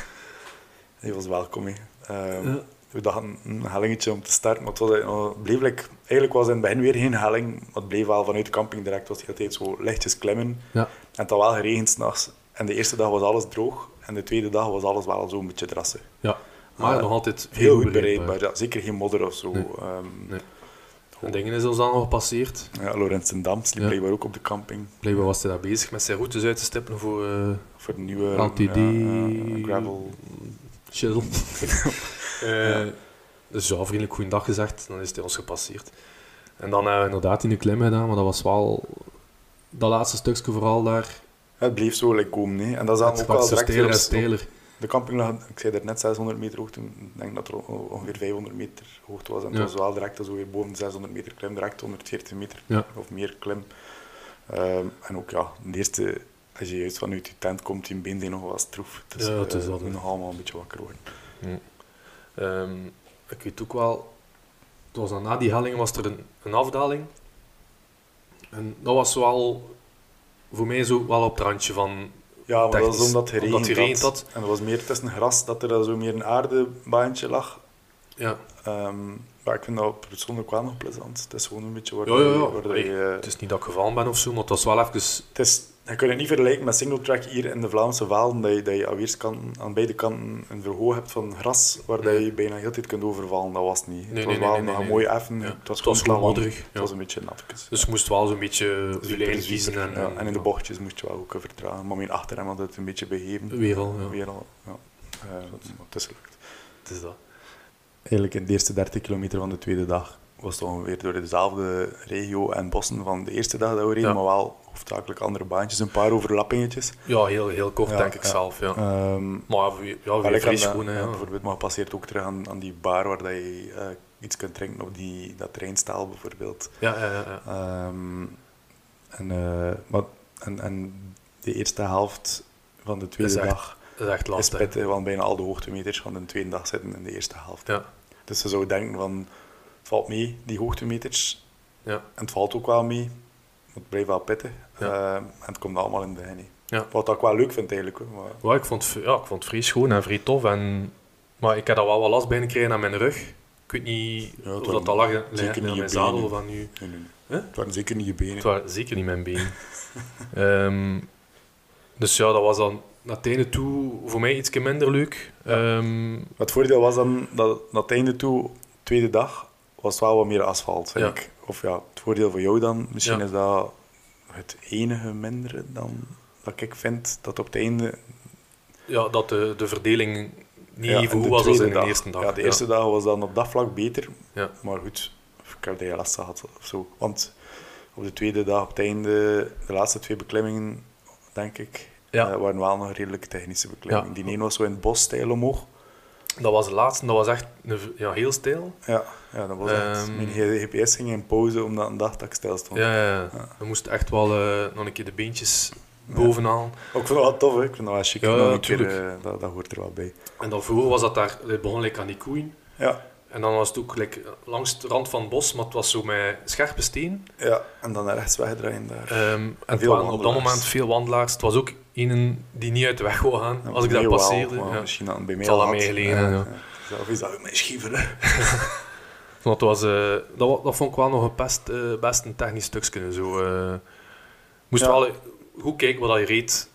A: die was welkom. hè. Ehm,
B: ja,
A: we dachten een hellingetje om te starten, maar het was, eh, oh, het bleef like- eigenlijk was in het begin weer geen helling, maar het bleef wel vanuit de camping direct, was die altijd zo lichtjes klimmen.
B: Ja.
A: En het had wel geregend s'nachts. En de eerste dag was alles droog, en de tweede dag was alles wel zo'n beetje drassig.
B: Ja, maar
A: Ja,
B: nog altijd
A: Ah, Heel goed bereidbaar, ja. zeker geen modder of zo.
B: Nee.
A: Ehm,
B: Nee. En dingen is ons dan nog gepasseerd.
A: ja, Laurens en Dam sliep
B: Ja.
A: blijkbaar ook op de camping.
B: Blijkbaar was hij daar bezig met zijn routes uit te stippelen voor eh
A: Voor de nieuwe
B: LTD,
A: ja, ja, ja, gravel.
B: shizzle. Eh, Dus ja, vriendelijk goeiedag gezegd, dan is hij ons gepasseerd. En dan hebben we inderdaad in de klim gedaan, maar dat was wel... Dat laatste stukje vooral daar,
A: Het bleef zo like, komen. hè. En dat
B: het
A: zaten ook
B: werd
A: wel
B: zo
A: direct
B: steler en
A: veel op-
B: steler.
A: De camping lag, ik zei net 600 meter hoogte. Ik denk dat er on- ongeveer 500 meter hoogte was. En het
B: Ja.
A: was wel direct zo weer boven de 600 meter klim, direct 140 meter
B: Ja.
A: of meer klim. Ehm, en ook ja, de eerste, als je juist vanuit je tent komt, je been zijn nog wel stroef. Dus
B: Ja, het is
A: eh,
B: dat,
A: we
B: hè.
A: nog allemaal een beetje wakker worden.
B: Ehm, ik weet ook wel, het was dan na die helling was er een, een afdaling. En dat was wel voor mij zo wel op het randje van.
A: Ja, maar dat
B: Technisch,
A: was omdat het
B: omdat
A: geregend
B: het geregend had.
A: En dat was meer tussen gras dat er dan zo meer een aardebaantje lag.
B: Ja,
A: Ehm, maar ik vind dat persoonlijk wel nog plezant. Het is gewoon een beetje waar,
B: Ja, ja, ja.
A: je- eh, waar dat
B: Allee,
A: je...
B: het is niet dat ik gevallen ben of zo, maar het was wel even.
A: Het is, je kunt het niet vergelijken met singletrack hier in de Vlaamse Valen, dat je, dat je aan, weerskanten, aan beide kanten een verhoog hebt van gras, waar dat je bijna heel de tijd kunt overvallen. Dat was het niet.
B: Mhm. Nee,
A: het was
B: nee, nee,
A: wel
B: nee,
A: nog
B: nee,
A: een mooie effen.
B: Ja.
A: Het was
B: Het was gewoon
A: gewoon plan,
B: modderig,
A: Het
B: ja.
A: was een beetje natjes.
B: Dus je moest wel zo'n beetje je
A: Super,
B: lijn
A: super.
B: kiezen. En,
A: Ja, en in de
B: ja,
A: bochtjes moest je wel ook eh, vertragen. Maar mijn achter hem had het een beetje begeven.
B: eh, Weer al, ja.
A: Weer al, ja. Eh, maar het is gelukt.
B: Het is dat.
A: Eigenlijk in de eerste 30 kilometer van de tweede dag was het ongeveer door dezelfde regio en bossen van de eerste dag dat we reden,
B: Ja.
A: maar wel hoofdzakelijk andere baantjes, een paar overlappingetjes.
B: Ja, heel, heel kort
A: Ja,
B: denk ik
A: ja.
B: zelf. Ja.
A: Ehm,
B: Maar ja, weer- ja,
A: Wel,
B: weer
A: ik had
B: fris
A: dat-
B: gewoon. hè,
A: ja,
B: Ja.
A: Bijvoorbeeld, maar passeert ook terug aan, aan die bar waar dat je eh, iets kunt drinken op die, dat treinstaal bijvoorbeeld.
B: Ja, ja, ja, ja.
A: Ehm, en, eh, maar, en, en de eerste helft van de tweede
B: echt
A: dag
B: Dat is echt
A: is
B: lastig.
A: pittig, want bijna al de hoogtemeters van de tweede dag zitten in de eerste helft.
B: Ja.
A: Dus ze zou denken van, het valt mee, die hoogtemeters.
B: Ja.
A: En het valt ook wel mee, maar het blijft wel pittig. Ehm, en het komt allemaal in de begin. hè.
B: Ja.
A: Wat ik wel leuk vind eigenlijk. hoor, Maar,
B: Ja, ik vond, het v- ja, ik vond het vrij schoon en vrij tof. En, maar ik heb daar wel wat last bij gekregen aan mijn rug. Ik weet niet
A: Ja, het
B: of
A: waren
B: dat al lag aan
A: zeker
B: aan
A: niet je
B: mijn zadel
A: benen.
B: of aan nu.
A: nee, nee, nee.
B: Huh?
A: Het waren zeker niet je benen.
B: Het waren zeker niet mijn been. Ehm, dus ja, dat was dan naar het einde toe voor mij iets minder leuk. Ehm,
A: Maar Het voordeel was dan dat naar het einde toe, tweede dag, was wel wat meer asfalt, vind
B: Ja.
A: ik. Of ja, het voordeel voor jou dan, misschien
B: Ja.
A: is dat het enige mindere dan dat ik vind dat op het einde...
B: ja, dat de, de verdeling niet
A: ja,
B: even
A: de
B: goed was als in
A: tweede
B: de eerste dag.
A: Ja, de eerste dag was dan op dat vlak beter.
B: Ja.
A: Maar goed, ik heb daar last gehad of zo. Want op de tweede dag, op het einde, de laatste twee beklimmingen, denk ik,
B: Ja.
A: eh, waren wel nog redelijk technische beklimmingen.
B: Ja.
A: Die ene was zo in het bosstijl omhoog.
B: Dat was de laatste, dat was echt een v- ja, heel stijl.
A: Ja, ja dat was echt.
B: Ehm.
A: Mijn GPS ging in pauze omdat een dag dat ik stil stond.
B: Ja, ja, ja.
A: Ja.
B: We moesten echt wel eh, nog een keer de beentjes bovenaan.
A: Ook ik vond dat wel tof, hè. ik vind dat wel chic.
B: Ja,
A: Nog een
B: natuurlijk.
A: keer, eh, dat, dat hoort er wel bij.
B: En daarvoor was dat daar, het begon like, aan die koeien.
A: Ja,
B: En dan was het ook like, langs de rand van het bos, maar het was zo met scherpe steen.
A: ja. en dan naar rechts wegdraaien daar.
B: Ehm, en het
A: veel
B: waren op dat
A: wandelaars.
B: moment veel wandelaars. Het was ook een die niet uit de weg wou gaan
A: Ja,
B: als ik
A: bij
B: daar
A: mij wel,
B: passeerde.
A: maar
B: ja.
A: Misschien dan bij mij
B: zal
A: al
B: aan
A: had.
B: mij gelegen hebben, ja.
A: Zelf is dat ook mijn schiever.
B: Want het was, eh, dat, wa- dat vond ik wel nog een best, eh, best een technisch stukje. Zo, eh. moest
A: Ja.
B: wel eh, goed kijken wat je reed.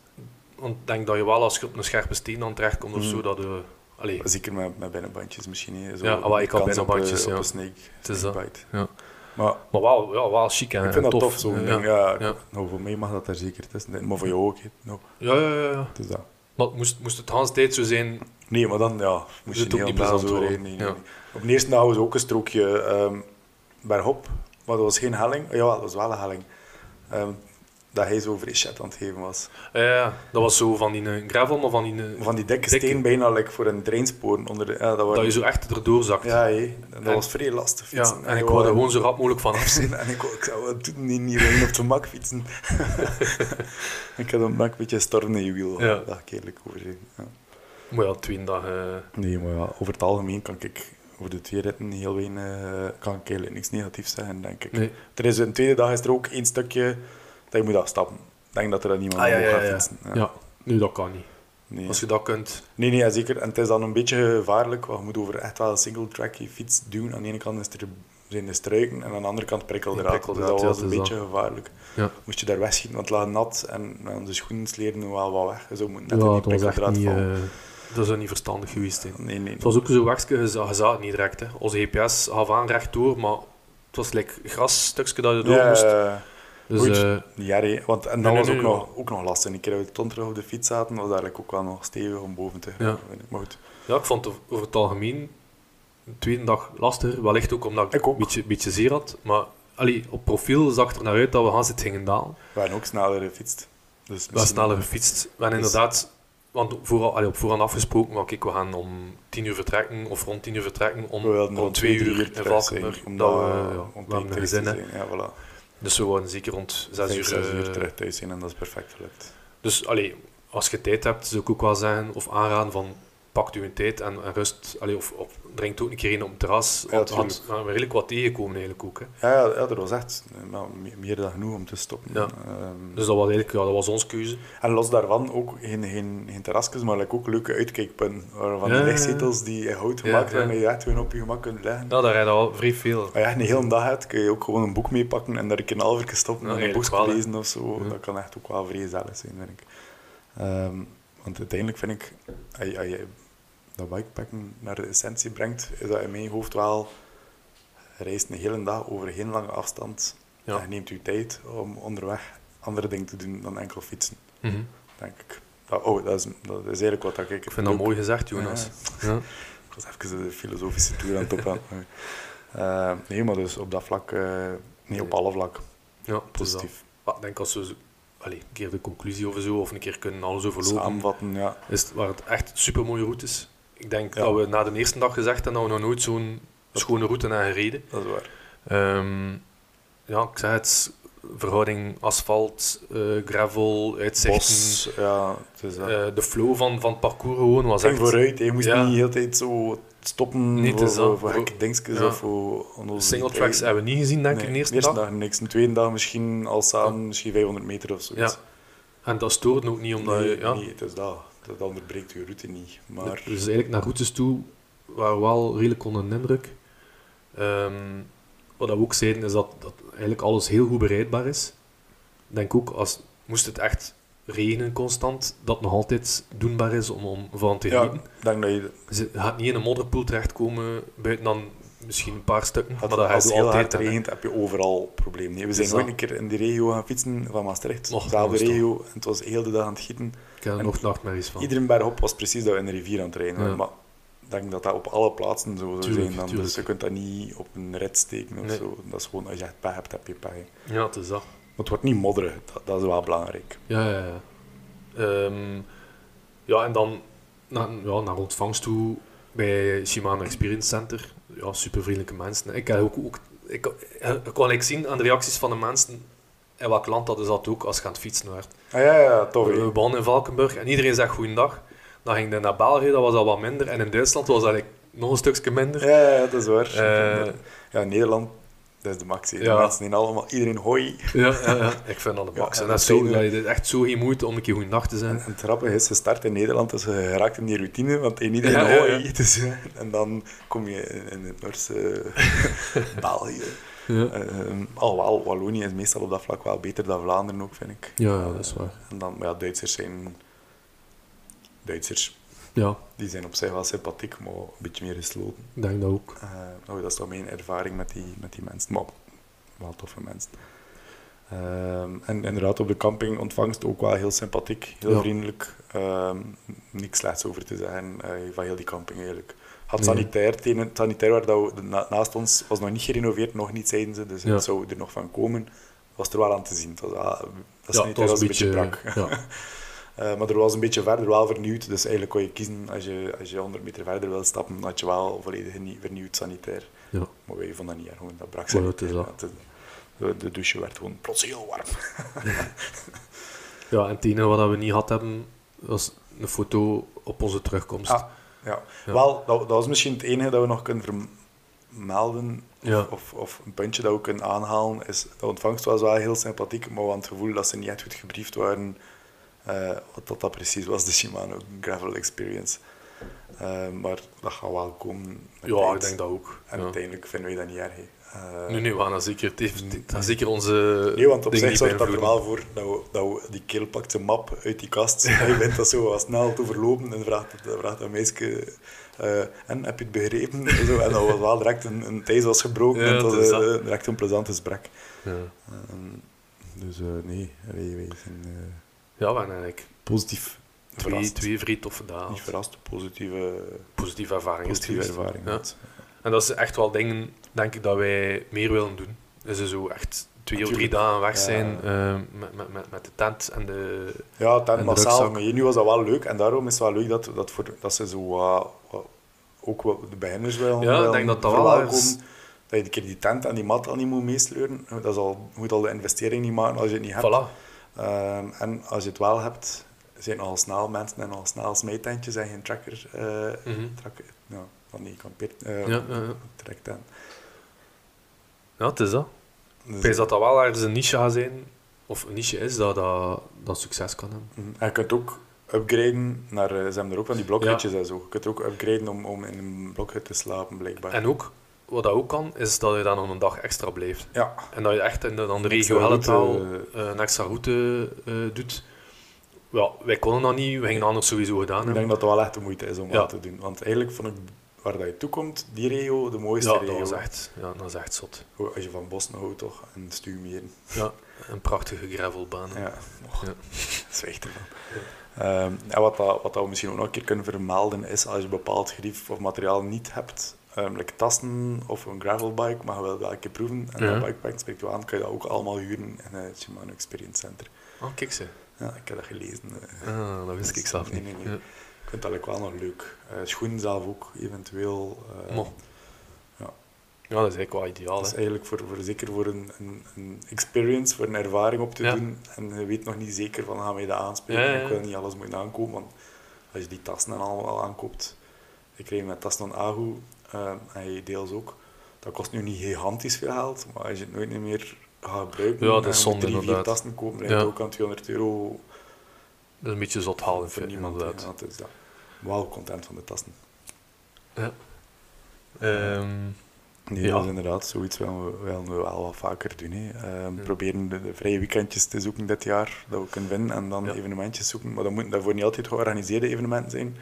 B: Want ik denk dat je wel als je op een scherpe steen dan terechtkomt of
A: Mhm.
B: zo, dat je... Allee,
A: Zeker met, met binnenbandjes misschien. Hè. Zo
B: Ja, ah, wel, ik had
A: kans op,
B: binnenbandjes,
A: eh, Op
B: ja.
A: een snake,
B: Het is dat,
A: snakebite.
B: ja.
A: Maar
B: maar wel, ja, wel chic en
A: ik vind dat tof,
B: tof.
A: zo'n
B: Ja.
A: ding. Ja.
B: Ja.
A: Nou, voor mij mag dat daar zeker tussen. zitten. Maar voor jou ook. hè. Nou,
B: Ja, ja, ja, ja.
A: het is dat.
B: Maar het moest, moest het de hele tijd zo zijn
A: Nee, maar dan ja, moest je
B: het ook
A: niet
B: niet
A: helemaal
B: plezant
A: zo
B: worden.
A: rijden. Nee, nee,
B: Ja.
A: nee. Op de eerste dag was ook een strookje ehm bergop, maar dat was geen helling. Ja, dat was wel een helling. Ehm, dat hij zo vrij shit aan het geven was.
B: Ja, eh, ja, dat was zo van die eh, gravel, maar van die... eh,
A: Van die dikke,
B: Dikke.
A: steen bijna like, voor een treinsporen. Onder de, ja, dat
B: dat
A: waren,
B: je zo echt erdoor zakt.
A: ja, hé. En dat
B: En-
A: was vrij lastig
B: Ja,
A: fietsen.
B: en ik
A: wou
B: wou er gewoon zo rap mogelijk van af zijn.
A: En ik, wou- ik zou het doen, niet, niet alleen op de mak fietsen. ik had een mak een beetje storm in je wiel.
B: Ja.
A: Dat ik eerlijk over zijn. Ja.
B: Maar ja, twee dagen... eh,
A: Nee, maar ja, over het algemeen kan ik over de twee ritten heel weinig, eh, kan ik eigenlijk niks negatiefs zeggen, denk ik.
B: nee.
A: Er is een tweede dag is er ook één stukje dat je moet afstappen. Ik denk dat er dan niemand
B: Ah, ja,
A: omhoog
B: ja,
A: gaat
B: ja.
A: fietsen.
B: Ja, nu dat kan niet.
A: Nee.
B: Als je dat kunt.
A: Nee, nee, ja, zeker. En het is dan een beetje gevaarlijk, want je moet over echt wel een single track je fiets duwen. Aan de ene kant is er, zijn de struiken en aan de andere kant
B: Ja,
A: prikkeldraad. Dus
B: prikkeldraad,
A: dat
B: ja,
A: was
B: het
A: een
B: is
A: beetje gevaarlijk.
B: Ja.
A: Moest je daar wegschieten, want het lag nat en nou, de schoenen sleerden wel wat weg. Je zou moeten net
B: ja,
A: in die
B: dat was echt
A: prikkeldraad
B: niet,
A: vallen.
B: eh, dat zou niet verstandig geweest zijn.
A: Nee, nee.
B: Het was ook zo'n wegje, je za- je zag het niet direct. Hè. Onze GPS gaf aan rechtdoor, maar het was like grasstukje dat je door
A: Ja,
B: moest.
A: eh,
B: Dus
A: Goed.
B: eh,
A: Ja, nee, want en dat
B: Nee,
A: was
B: nee,
A: ook,
B: nee,
A: nog, ook nog lastig. Een keer dat we toen terug op de fiets zaten, was eigenlijk ook wel nog stevig om boven te gaan.
B: Ja.
A: vind ik. Maar goed,
B: ja, ik vond het over het algemeen de tweede dag lastiger. Wellicht ook omdat ik,
A: Ik ook.
B: een beetje, beetje zeer had. Maar allee, op profiel zag er naar uit dat we gaan zitten gingen dalen.
A: we waren ook sneller gefietst. Dus
B: We hebben sneller gefietst. We hebben
A: Dus-
B: inderdaad, want vooral, allee, op voorhand afgesproken, maar kijk, we gaan om tien uur vertrekken of rond tien uur vertrekken om,
A: We wilden
B: om
A: rond
B: twee
A: drie
B: uur in
A: terug
B: Valkenburg.
A: zijn,
B: Omdat we, eh, ja,
A: om
B: we
A: tegen
B: hebben een
A: thuis
B: gezin,
A: te
B: hè.
A: zijn. Ja, voilà.
B: dus we waren zeker rond zes uur,
A: Vijf, zes
B: eh,
A: uur terug thuis zijn en dat is perfect gelukt.
B: Dus allee, als je tijd hebt, zou ik ook wel zeggen of aanraden van pak u een tijd en, en rust. Allee, of, of drink ook een keer een op het terras.
A: Ja,
B: Want we
A: tuurlijk.
B: hadden redelijk wat tegenkomen eigenlijk ook. Hè.
A: Ja, ja, ja, dat was echt eh, nou, me- meer dan genoeg om te stoppen.
B: Ja.
A: Ehm,
B: Dus dat was eigenlijk ja, dat was onze keuze.
A: En los daarvan ook geen, geen, geen terrasjes, maar like ook leuke uitkijkpunten. Van
B: Ja, ja,
A: de
B: ja.
A: lichtzetels die in hout gemaakt
B: ja.
A: zijn, dat je echt gewoon op je gemak kunt leggen.
B: Nou, daar rijden al vrij veel.
A: Als je echt een hele dag hebt, kun je ook gewoon een boek meepakken en daar een keer een half uur stoppen
B: Ja,
A: en een boek
B: eigenlijk wel, hè.
A: lezen of zo.
B: Ja.
A: Dat kan echt ook wel vrij zelf zijn, vind ik. Ehm, want uiteindelijk vind ik, als je, als je dat bikepacken naar de essentie brengt, is dat in mijn hoofd wel, je reist een hele dag over geen lange afstand
B: Ja.
A: en je neemt je tijd om onderweg andere dingen te doen dan enkel fietsen,
B: Mhm.
A: denk ik. Dat- oh, dat is, dat is eigenlijk wat dat ik...
B: Ik vind dat mooi gezegd,
A: Ja.
B: Jonas. Ja.
A: Ik was even de filosofische toer aan het opgaan. Eh, nee, maar dus op dat vlak, eh, nee, op alle vlak,
B: Ja, het is dat.
A: positief.
B: Maar ik denk als we zo- allee, een keer de conclusie of zo, of een keer kunnen alles overlopen,
A: Samenvatten, ja.
B: is het, waar het echt super mooie routes. Ik denk
A: Ja.
B: dat we na de eerste dag gezegd hebben dat we nog nooit zo'n schone route hebben gereden.
A: Dat is waar.
B: Ehm, ja, ik zei het, verhouding asfalt, eh, gravel, uitzichten.
A: Bos, ja, het is dat.
B: eh, de flow van, van het parcours gewoon was
A: Ging
B: echt...
A: vooruit, hè. je moest
B: Ja.
A: niet de hele tijd zo stoppen
B: Nee, het
A: voor,
B: is
A: voor,
B: dat.
A: voor gekke dingetjes
B: Ja.
A: of voor onnodige
B: Single tracks
A: tijden.
B: hebben we niet gezien, denk ik,
A: Nee,
B: in de eerste, dag.
A: niks. Een tweede dag misschien al samen, misschien 500 meter of zo.
B: Ja, En dat stoorde ook niet, omdat
A: nee,
B: je... Ja,
A: nee, het is dat. Dat onderbreekt je route niet. Maar
B: Dus eigenlijk naar routes toe waren we wel redelijk onder de indruk. Ehm, wat we ook zeiden is dat, dat eigenlijk alles heel goed bereidbaar is. Ik denk ook, als, moest het echt regenen constant, dat nog altijd doenbaar is om, om van te
A: ja,
B: genieten.
A: ik denk dat je
B: Dus je gaat niet in een modderpoel terechtkomen, buiten dan misschien een paar stukken.
A: Had-
B: maar dat
A: als
B: gaat
A: het
B: je
A: heel
B: altijd
A: hard
B: hebben.
A: regent, heb je overal problemen. Nee, We zijn
B: Is dat-
A: ooit een keer in de regio gaan fietsen van Maastricht.
B: Och,
A: Dezelfde
B: dat is toch-
A: regio. En het was heel de dag aan het gieten.
B: Ik heb er
A: En
B: nog nachtmerries van.
A: Iedereen berg op was precies dat we in de rivier aan het rijden waren.
B: Ja.
A: Maar ik denk dat dat op alle plaatsen zo zou
B: Tuurlijk,
A: zijn. Dan.
B: tuurlijk.
A: Dus je kunt dat niet op een rit steken of
B: Nee.
A: zo. Dat is gewoon, als je echt pech hebt, heb je pech. hè. Maar
B: Ja, het is dat.
A: het wordt niet modderig. Dat, dat is wel belangrijk.
B: Ja, ja, ja. Ehm, ja, en dan naar, ja, naar ontvangst toe bij Shimano Experience Center. Ja, super vriendelijke mensen. Ik, heb ook, ook, ik, eh, ik kon ik zien aan de reacties van de mensen in welk land dat is dat ook als je aan het fietsen werd.
A: Ah, ja, ja, tof. hè.
B: We begonnen in Valkenburg en iedereen zegt goeiedag. Dan ging de naar België, dat was al wat minder. En in Duitsland was dat eigenlijk nog een stukje minder.
A: Ja, ja, ja, dat is waar.
B: Eh.
A: ja, Nederland, dat is de max. hè. De
B: Ja.
A: mensen die allemaal, iedereen hoi.
B: Ja, ja, ja. ik vind dat de max.
A: Ja, dat
B: en dat is zo,
A: zijn we.
B: dat je dit echt zo geen moeite om een keer goeiedag te zijn.
A: En het grappige is, ze start in Nederland, dus je raakt in die routine, want in iedereen
B: Ja, ja,
A: hoor je
B: ja.
A: iets. Dus, eh, en dan kom je in, in het Noorse eh, België.
B: Ja.
A: Ehm, alhoewel, Wallonië is meestal op dat vlak wel beter dan Vlaanderen ook, vind ik.
B: Ja, ja, dat is waar.
A: En dan, maar ja, Duitsers zijn... Duitsers,
B: Ja,
A: die zijn op zich wel sympathiek, maar een beetje meer gesloten.
B: ik denk dat ook.
A: Eh, nou, dat is dan mijn ervaring met die, met die mensen. Maar wel toffe mensen. Ehm, en inderdaad, op de camping ontvangst ook wel heel sympathiek, heel
B: Ja.
A: vriendelijk. Ehm, niks slechts over te zeggen eh, van heel die camping eigenlijk. Had
B: Nee.
A: sanitair, het ene- het sanitair waar dat we, na- naast ons was nog niet gerenoveerd, nog niet, zeiden ze. Dus
B: Ja.
A: het zou er nog van komen. Was er wel aan te zien. Het was, ah, dat
B: ja, het
A: sanitair was een beetje brak.
B: Ja,
A: Eh, maar er was een beetje verder wel vernieuwd. Dus eigenlijk kon je kiezen, als je, als je 100 meter verder wil stappen, had je wel volledig nie- vernieuwd sanitair.
B: ja.
A: Maar wij vonden dat niet erg, gewoon dat brak
B: Maar
A: zijn.
B: dat is dat.
A: Ja, het- de, de douche werd gewoon plots heel warm.
B: ja, en het enige wat we niet had hebben, was een foto op onze terugkomst.
A: Ah, ja.
B: Ja.
A: Wel, dat, dat was misschien het enige dat we nog kunnen vermelden. Of,
B: Ja.
A: of, of een puntje dat we kunnen aanhalen. Is, de ontvangst was wel heel sympathiek, maar we hadden het gevoel dat ze niet echt goed gebriefd waren. eh, wat dat, dat precies was, dus de Shimano Gravel Experience. Eh, maar dat gaat wel komen. met
B: Ja,
A: tijd.
B: ik denk dat ook.
A: En
B: ja.
A: uiteindelijk vinden wij dat niet erg. hè. Eh,
B: Nu, nu, we gaan dat zeker, het heeft- het gaat zeker onze.
A: Nee, want op
B: dingen
A: zich
B: niet
A: zorgt dat er
B: beïnvloeden.
A: wel voor dat we, dat we die keelpakte map uit die kast. Je bent dat zo wat snel te verlopen en vraagt, dat- vraagt een meisje. eh, en heb je het begrepen? En Zo, en dat was wel direct een, een thijs was gebroken
B: Ja,
A: en dat
B: het is
A: was eh,
B: dat.
A: direct een plezant gesprek.
B: Ja.
A: Ehm, dus eh, nee, wij, wij zijn eh,
B: ja, we hebben eigenlijk
A: positief
B: twee,
A: verrast.
B: twee vrij toffe dagen.
A: Niet verrast, positieve,
B: Positieve ervaringen.
A: positieve
B: geweest.
A: ervaring.
B: Ja.
A: gehad.
B: En dat is echt wel dingen, denk ik, dat wij meer willen doen. Dus zo echt twee of
A: Natuurlijk.
B: drie dagen weg
A: Ja.
B: zijn eh, met, met, met, met de tent en de...
A: Ja, het
B: En
A: had massaal.
B: rugzak.
A: Maar hier nu was dat wel leuk. En daarom is het wel leuk dat, dat, voor, dat ze zo wat- wat- ook wel de beginners wel
B: Ja, ik
A: wel
B: denk dat dat wel
A: verwelkomen.
B: ergens-
A: Dat je een keer die tent en die mat al niet moet meesleuren. Dat is al, je moet al de investering niet maken als je het niet hebt.
B: Voilà.
A: Ehm, en als je het wel hebt, zijn al snel mensen en al snel smeetentjes en geen tracker. eh
B: Mhm.
A: tracker ja, van die kampeert. eh
B: Ja, ja, ja.
A: trektent.
B: ja, het is dat.
A: Dus-
B: Ik denk dat dat wel ergens een niche gaat zijn, of een niche is, dat, dat, dat succes kan hebben.
A: Mhm. En je kunt ook upgraden naar... eh, Ze hebben er ook van die blokhutjes en zo. Je kunt ook upgraden om, om in een blokhut te slapen, blijkbaar.
B: En ook, wat dat ook kan, is dat je dan nog een dag extra blijft.
A: Ja,
B: En dat je echt in de, dan de
A: Een
B: regio
A: extra
B: Helletaal
A: route,
B: eh, een extra route eh, doet. Ja, wij konden dat niet, we gingen dat anders sowieso gedaan
A: Ik
B: hebben.
A: denk dat dat wel echt de moeite is om
B: Ah, Ja.
A: dat te doen. Want eigenlijk vond ik waar dat je toekomt, die regio, de mooiste
B: Ja, dat
A: regio.
B: was echt, ja, dat was echt zot.
A: Goed, Als je van Boston houdt, toch? En Stumieren.
B: Ja, een prachtige gravelbaan.
A: Ja. Och,
B: Ja.
A: zwijg ervan. Ehm, en wat, dat, wat dat we misschien ook nog een keer kunnen vermelden, is als je bepaald grief of materiaal niet hebt, ehm like tassen of een gravelbike, maar je wil wel een keer proeven, en
B: Ja.
A: dat bikepack spreekt wel aan, kan je dat ook allemaal huren in het Shimano Experience Center.
B: Oh, kijk ze.
A: Ja, ik heb dat gelezen. eh.
B: Ah, dat wist ik zelf
A: Nee,
B: niet.
A: nee, nee. Ik vind dat eigenlijk wel nog leuk. Eh schoenen zelf ook, eventueel. eh,
B: Mo.
A: Ja.
B: Ja, dat is eigenlijk wel ideaal.
A: Dat is
B: Hè.
A: eigenlijk voor, voor, zeker voor een, een, een experience, voor een ervaring op te
B: Ja.
A: doen. En je weet nog niet zeker van, gaan wij dat aanspelen?
B: Ja, ja,
A: Ik
B: ja.
A: wil niet alles moeten aankopen, want als je die tassen en allemaal aankoopt... Ik kreeg met tassen van Agu, eh, en je deels ook. Dat kost nu niet gigantisch veel geld, maar als je het nooit meer gaat gebruiken...
B: Ja, dat
A: en
B: is
A: je moet
B: zonde,
A: drie, vier
B: inderdaad.
A: tassen kopen, dan heb je
B: Ja.
A: ook aan 200 euro
B: Dat is een beetje zot halen
A: voor
B: vind ik,
A: niemand.
B: inderdaad.
A: Ja, dat is dat. Wel content van de tassen.
B: Ehm,
A: Nee,
B: Ja.
A: dat is inderdaad zoiets willen we, willen we wel wat vaker doen. Hè. Ehm,
B: Ja.
A: Proberen de, de vrije weekendjes te zoeken dit jaar, dat we kunnen winnen, en dan
B: Ja.
A: evenementjes zoeken. Maar dat moeten daarvoor niet altijd georganiseerde evenementen zijn.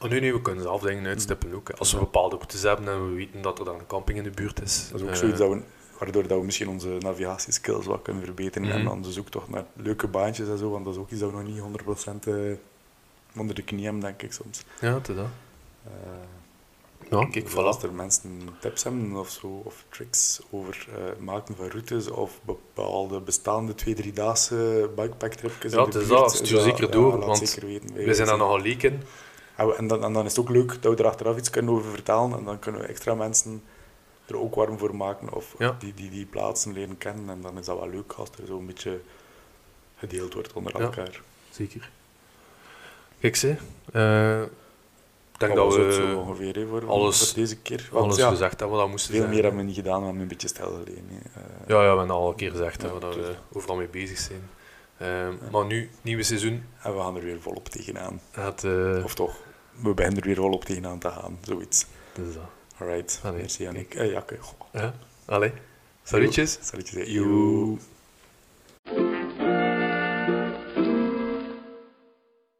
B: oh, nee, nee, we kunnen zelf dingen uitstippen ook. hè. Als we bepaalde routes hebben en we weten dat er dan een camping in de buurt is.
A: Dat is ook
B: eh,
A: zoiets dat we, waardoor dat we misschien onze navigatieskills wat kunnen verbeteren
B: Mhm.
A: en onze zoektocht naar leuke baantjes en zo, want dat is ook iets dat we nog niet 100% eh, onder de knie hebben, denk ik soms.
B: Ja, het is dat.
A: Eh,
B: Ja, kijk,
A: dus
B: voilà.
A: Als er mensen tips hebben of zo, of tricks over eh, maken van routes of bepaalde bestaande twee, driedaagse bikepacktripjes
B: Ja,
A: in
B: het
A: de
B: is
A: buurt,
B: dat. Stuur zeker
A: ja,
B: door,
A: laat
B: want
A: zeker weten. Wij
B: We zijn daar
A: zijn-
B: nogal leek in.
A: En, we- en dan, en dan is het ook leuk dat we er achteraf iets kunnen over vertellen en dan kunnen we extra mensen er ook warm voor maken of
B: Ja.
A: die, die die plaatsen leren kennen. En dan is dat wel leuk als er zo een beetje gedeeld wordt onder
B: Ja.
A: elkaar.
B: Zeker. Kijk ze. eh, ik denk dat
A: was het zo
B: we
A: ongeveer hè, voor,
B: alles-
A: voor deze keer. Want
B: alles
A: ja,
B: gezegd hebben wat dat moesten
A: veel
B: zijn.
A: meer hebben we niet gedaan, we hebben een beetje stil geleden. hè. Eh,
B: Ja, ja, we hebben al een keer gezegd hè,
A: Ja,
B: dat we
A: tuurlijk.
B: overal mee bezig zijn. Ehm, Maar nu, nieuwe seizoen,
A: En we gaan er weer volop tegenaan.
B: gaat... eh,
A: Of toch, we beginnen er weer volop tegenaan te gaan. Zoiets.
B: het is dat.
A: Alright.
B: Allee,
A: Merci, Yannick.
B: kijk.
A: Eh, Jakke. Goh.
B: Ja, allee. Salutjes.
A: Salutjes. hè.
B: Joe.